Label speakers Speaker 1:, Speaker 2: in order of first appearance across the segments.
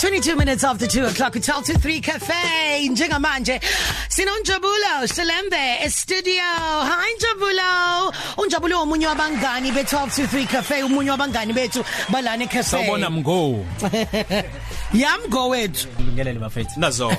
Speaker 1: 22 minutes after 2 o'clock it's Alto 3 Cafe njengamanje sinonjabulo Shalembe estudio hi Njabulo unjabulo omunye wabangani be 12 to 3 Cafe umunye wabangani bethu balana ecafe
Speaker 2: Sawubona mgo.
Speaker 1: yamgo wethu
Speaker 2: Ngilele bafethu. Nazo.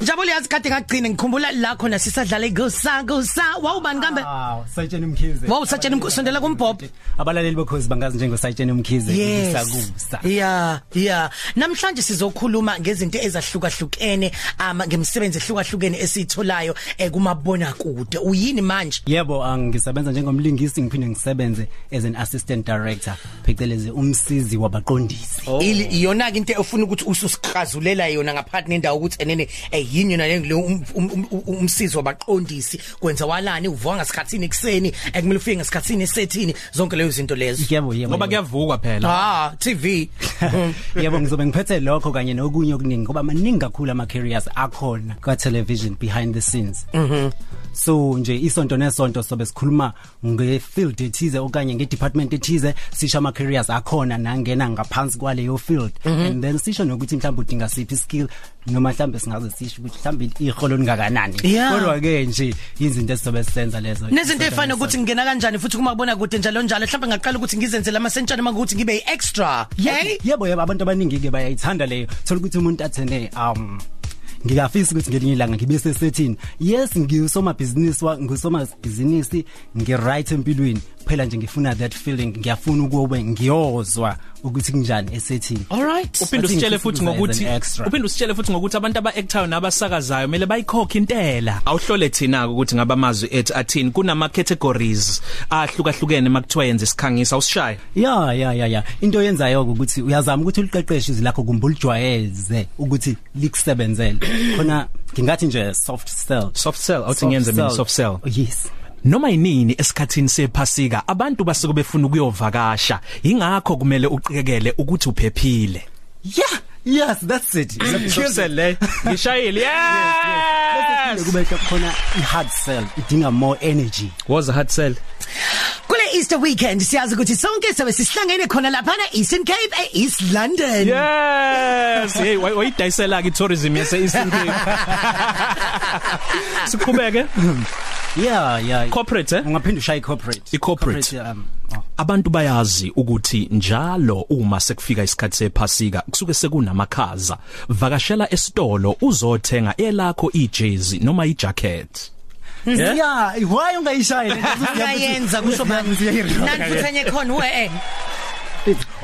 Speaker 1: Njabulo yazi kade ngagcina ngikhumbula la khona sisadlala igosa gosa wawubani kambe
Speaker 3: Wow, Sajeni Mkhize.
Speaker 1: wawusatshela umsondela kumbhobho
Speaker 3: Abalaleli bekhozi bangazi njengo Sajeni Mkhize
Speaker 1: Yes.
Speaker 3: ngisakusa.
Speaker 1: Yeah, yeah. Namhlanje sizokhuluma ngezinto ezahlukahlukene ama ngemsebenzi ehlukahlukene esitholayo ekumabona kude. Uyini manje?
Speaker 3: Yebo, ah, ngisebenza njengomlingisi ngiphinde ngisebenze as an assistant director, phecelezi umsizi wabaqondisi.
Speaker 1: Ili- iyona ke into efuna ukuthi ususikhazulela yona ngaphansi nendawo ukuthi enene eyini yona le le um- um- um- um- umsizi wabaqondisi kwenza walani uvuka ngasikhatsini ekseni ekumele ufike ngasikhatsini esethini zonke lezo zinto lezo
Speaker 3: Yebo, yebo.
Speaker 2: Ngoba
Speaker 3: yebo.
Speaker 2: kuyavukwa phela.
Speaker 1: ah tv
Speaker 3: yebo ngizobe ngiphethe lokho kanye nokunye okuningi ngoba maningi kakhulu ama careers akhona kwa television behind the scenes. Mhm. So nje isonto nesonto sobe sikhuluma nge field ethize okanye nge department ethize sisha ama careers akhona nangena ngaphansi kwaleyo field
Speaker 1: Mhm.
Speaker 3: and then sisho nokuthi mhlawumbe udinga siphi skill noma mhlawumbe singaze sisho ukuthi mhlawumbe iholo lingakanani.
Speaker 1: Yeah.
Speaker 3: Kodwa ke nje izinto esizobe sisenza lezo.
Speaker 1: Nezinto efana ukuthi ngingena kanjani futhi kuma kubona kude njalo njalo mhlawumbe ngaqala ukuthi ngizenzele ama sentshana mangukuthi ngibe extra hey
Speaker 3: yebo yebo abantu abaningi ke bayayithanda leyo thola ukuthi umuntu athene um ngiyafisa ukuthi ngelinye ilanga ngibe sesethini yes ngiyusomabhizinisi wa ngusomabhizinisi ngi-right empilweni kuphela nje ngifuna that feeling ngiyafuna ukube ngiyozwa ukuthi kunjani esethini
Speaker 1: all right
Speaker 2: Uphinde
Speaker 3: Athi
Speaker 2: usitshele
Speaker 3: ngifisa
Speaker 2: futhi
Speaker 3: ukuza as
Speaker 2: ngokuthi
Speaker 3: an extra.
Speaker 2: uphinde usitshele futhi ngokuthi abantu abaactayo nabasakazayo kumele bayikhokhe intela. Awuhlole thina ukuthi ngaba amazwi ethu athini kunama categories ahlukahlukene makuthiwa yenze isikhangisa usishaye.
Speaker 3: ya ya ya ya into oyenzayo-ke ukuthi uyazama ukuthi uliqeqeshe izwi lakho kumbe ulijwayeze ukuthi likusebenzele khona ngingathi nje soft sell
Speaker 2: Soft sell awuthi ngiyenze mina soft sell.
Speaker 3: yes
Speaker 2: Noma yinini esikhathini sephasika abantu basuke befuna ukuyovakasha. Ingakho kumele uqikekele ukuthi uphephile.
Speaker 3: yeah yes that's it
Speaker 2: Ngiyusele le. Ngishayile. eh? Yes.
Speaker 3: kube khona i-hard sell idinga more energy
Speaker 2: Was a hard sell.
Speaker 1: kule Easter weekend siyazi ukuthi sonke sobe sihlangene khona lapha na Eastern Cape e East London
Speaker 2: Yes, hey way way dayisela ke tourism yase Eastern Cape. Sikhubeke
Speaker 3: yeah yeah
Speaker 2: corporate eh?
Speaker 3: ungaphinde ushaye corporate
Speaker 2: I-corporate.
Speaker 3: Corporate, um oh.
Speaker 2: Abantu bayazi ukuthi njalo uma sekufika isikhathi sephasika kusuke sekunamakhaza. Vakashela esitolo uzothenga elakho ijezi noma ijacket.
Speaker 3: yeah, yeah. why ungayishaye le nto?
Speaker 1: ngayenza kusho bani nani futhi enye khona we eh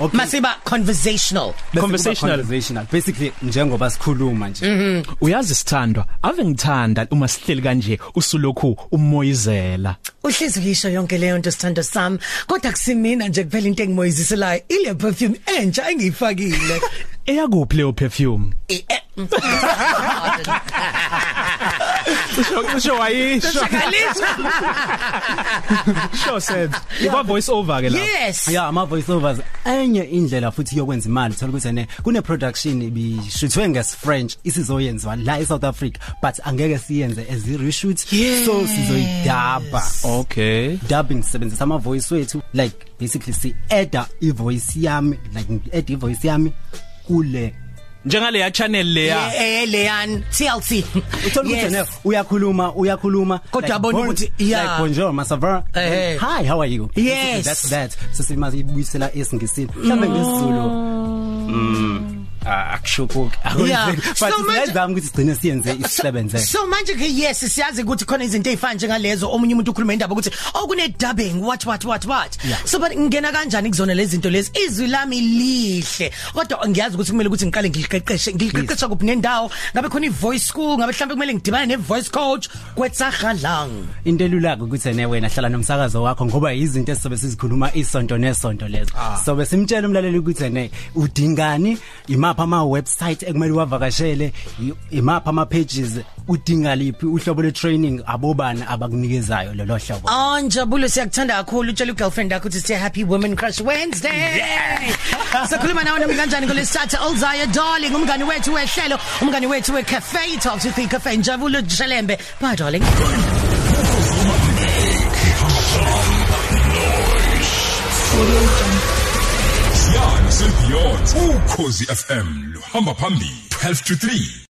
Speaker 3: okay
Speaker 1: masiba conversational
Speaker 3: Bese kuba
Speaker 2: Conversational.
Speaker 3: conversational basically njengoba sikhuluma nje
Speaker 2: Uyazi sithandwa ave ngithanda uma sihleli kanje usulokhu umoyizela.
Speaker 1: uhlizi uyisho yonke leyo nto sithando sami kodwa kusimina nje kuphela into engimoyiziselayo ile perfume entsha engiyifakile
Speaker 2: Eyakuphi leyo perfume?
Speaker 1: Eh, eh, mm.
Speaker 2: Usho usho wayisho.
Speaker 1: Shakalisa.
Speaker 2: Sure said. Iba voice over ke lapho.
Speaker 1: yes
Speaker 3: yeah ama voice overs enye indlela futhi yokwenza imali thola ukuthi ene kune production ibishithwe ngesifrench isizoyenziwa la eSouth Africa but angeke siyenze as i reshoot so sizoyidaba
Speaker 2: Oh. Okay.
Speaker 3: dubbing sisebenzisa ama voice wethu like basically si add i voice yami like ngi add i voice yami kule
Speaker 2: Njengale ya channel leya.
Speaker 1: eh leyan TLC
Speaker 3: uthola ukuthi ne uyakhuluma uyakhuluma
Speaker 1: Kodwa
Speaker 3: like,
Speaker 1: abona
Speaker 3: bon-
Speaker 1: ukuthi, yeah.
Speaker 3: like bonjour masavara
Speaker 1: Eh, eh.
Speaker 3: hi how are you
Speaker 1: Yes. Mm.
Speaker 3: Basically, that's that sesimazi ibuyisela esingisini mhlambe ngesizulu ah akushukuki
Speaker 1: Yeah.
Speaker 3: but
Speaker 1: So manje-
Speaker 3: sizayizama ukuthi sigcine siyenze isisebenze
Speaker 1: So manje ke yes siyazi ukuthi khona izinto ezifana njengalezo omunye umuntu ukhuluma indaba ukuthi oh kune dubbing what what what what
Speaker 3: Yeah.
Speaker 1: so but ngena kanjani kuzona lezi zinto lezi izwi lami lihle kodwa ngiyazi ukuthi kumele ukuthi ngiqale ngiliqeqeshe ngiliqeqesha kuphi nendawo ngabe khona i voice school ngabe mhlawumbe kumele ngidibane ne voice coach kwetsagalang
Speaker 3: into elulaka ukuthi ene wena hlala nomsakazo wakho ngoba izinto esizobe sizikhuluma isonto nesonto lezo so bese simtshela umlaleli ukuthi ene udingani imapha ama website ekumele uwavakashele i- imapha ama pages udinga liphi uhlobo le training abobani abakunikezayo lolo hlobo
Speaker 1: Oh Njabulo siyakuthanda kakhulu utshela ugirlfriend yakho ukuthi siya happy women crush Wednesday. Sakhuluma nawe nami kanjani kulesithatha Olzaya darling umngani wethu wehlelo umngani wethu wecafe talk to the cafe Njabulo Jalembe bye darling.
Speaker 4: Yams and beyond ukhosi fm luhamba phambili 12 to 3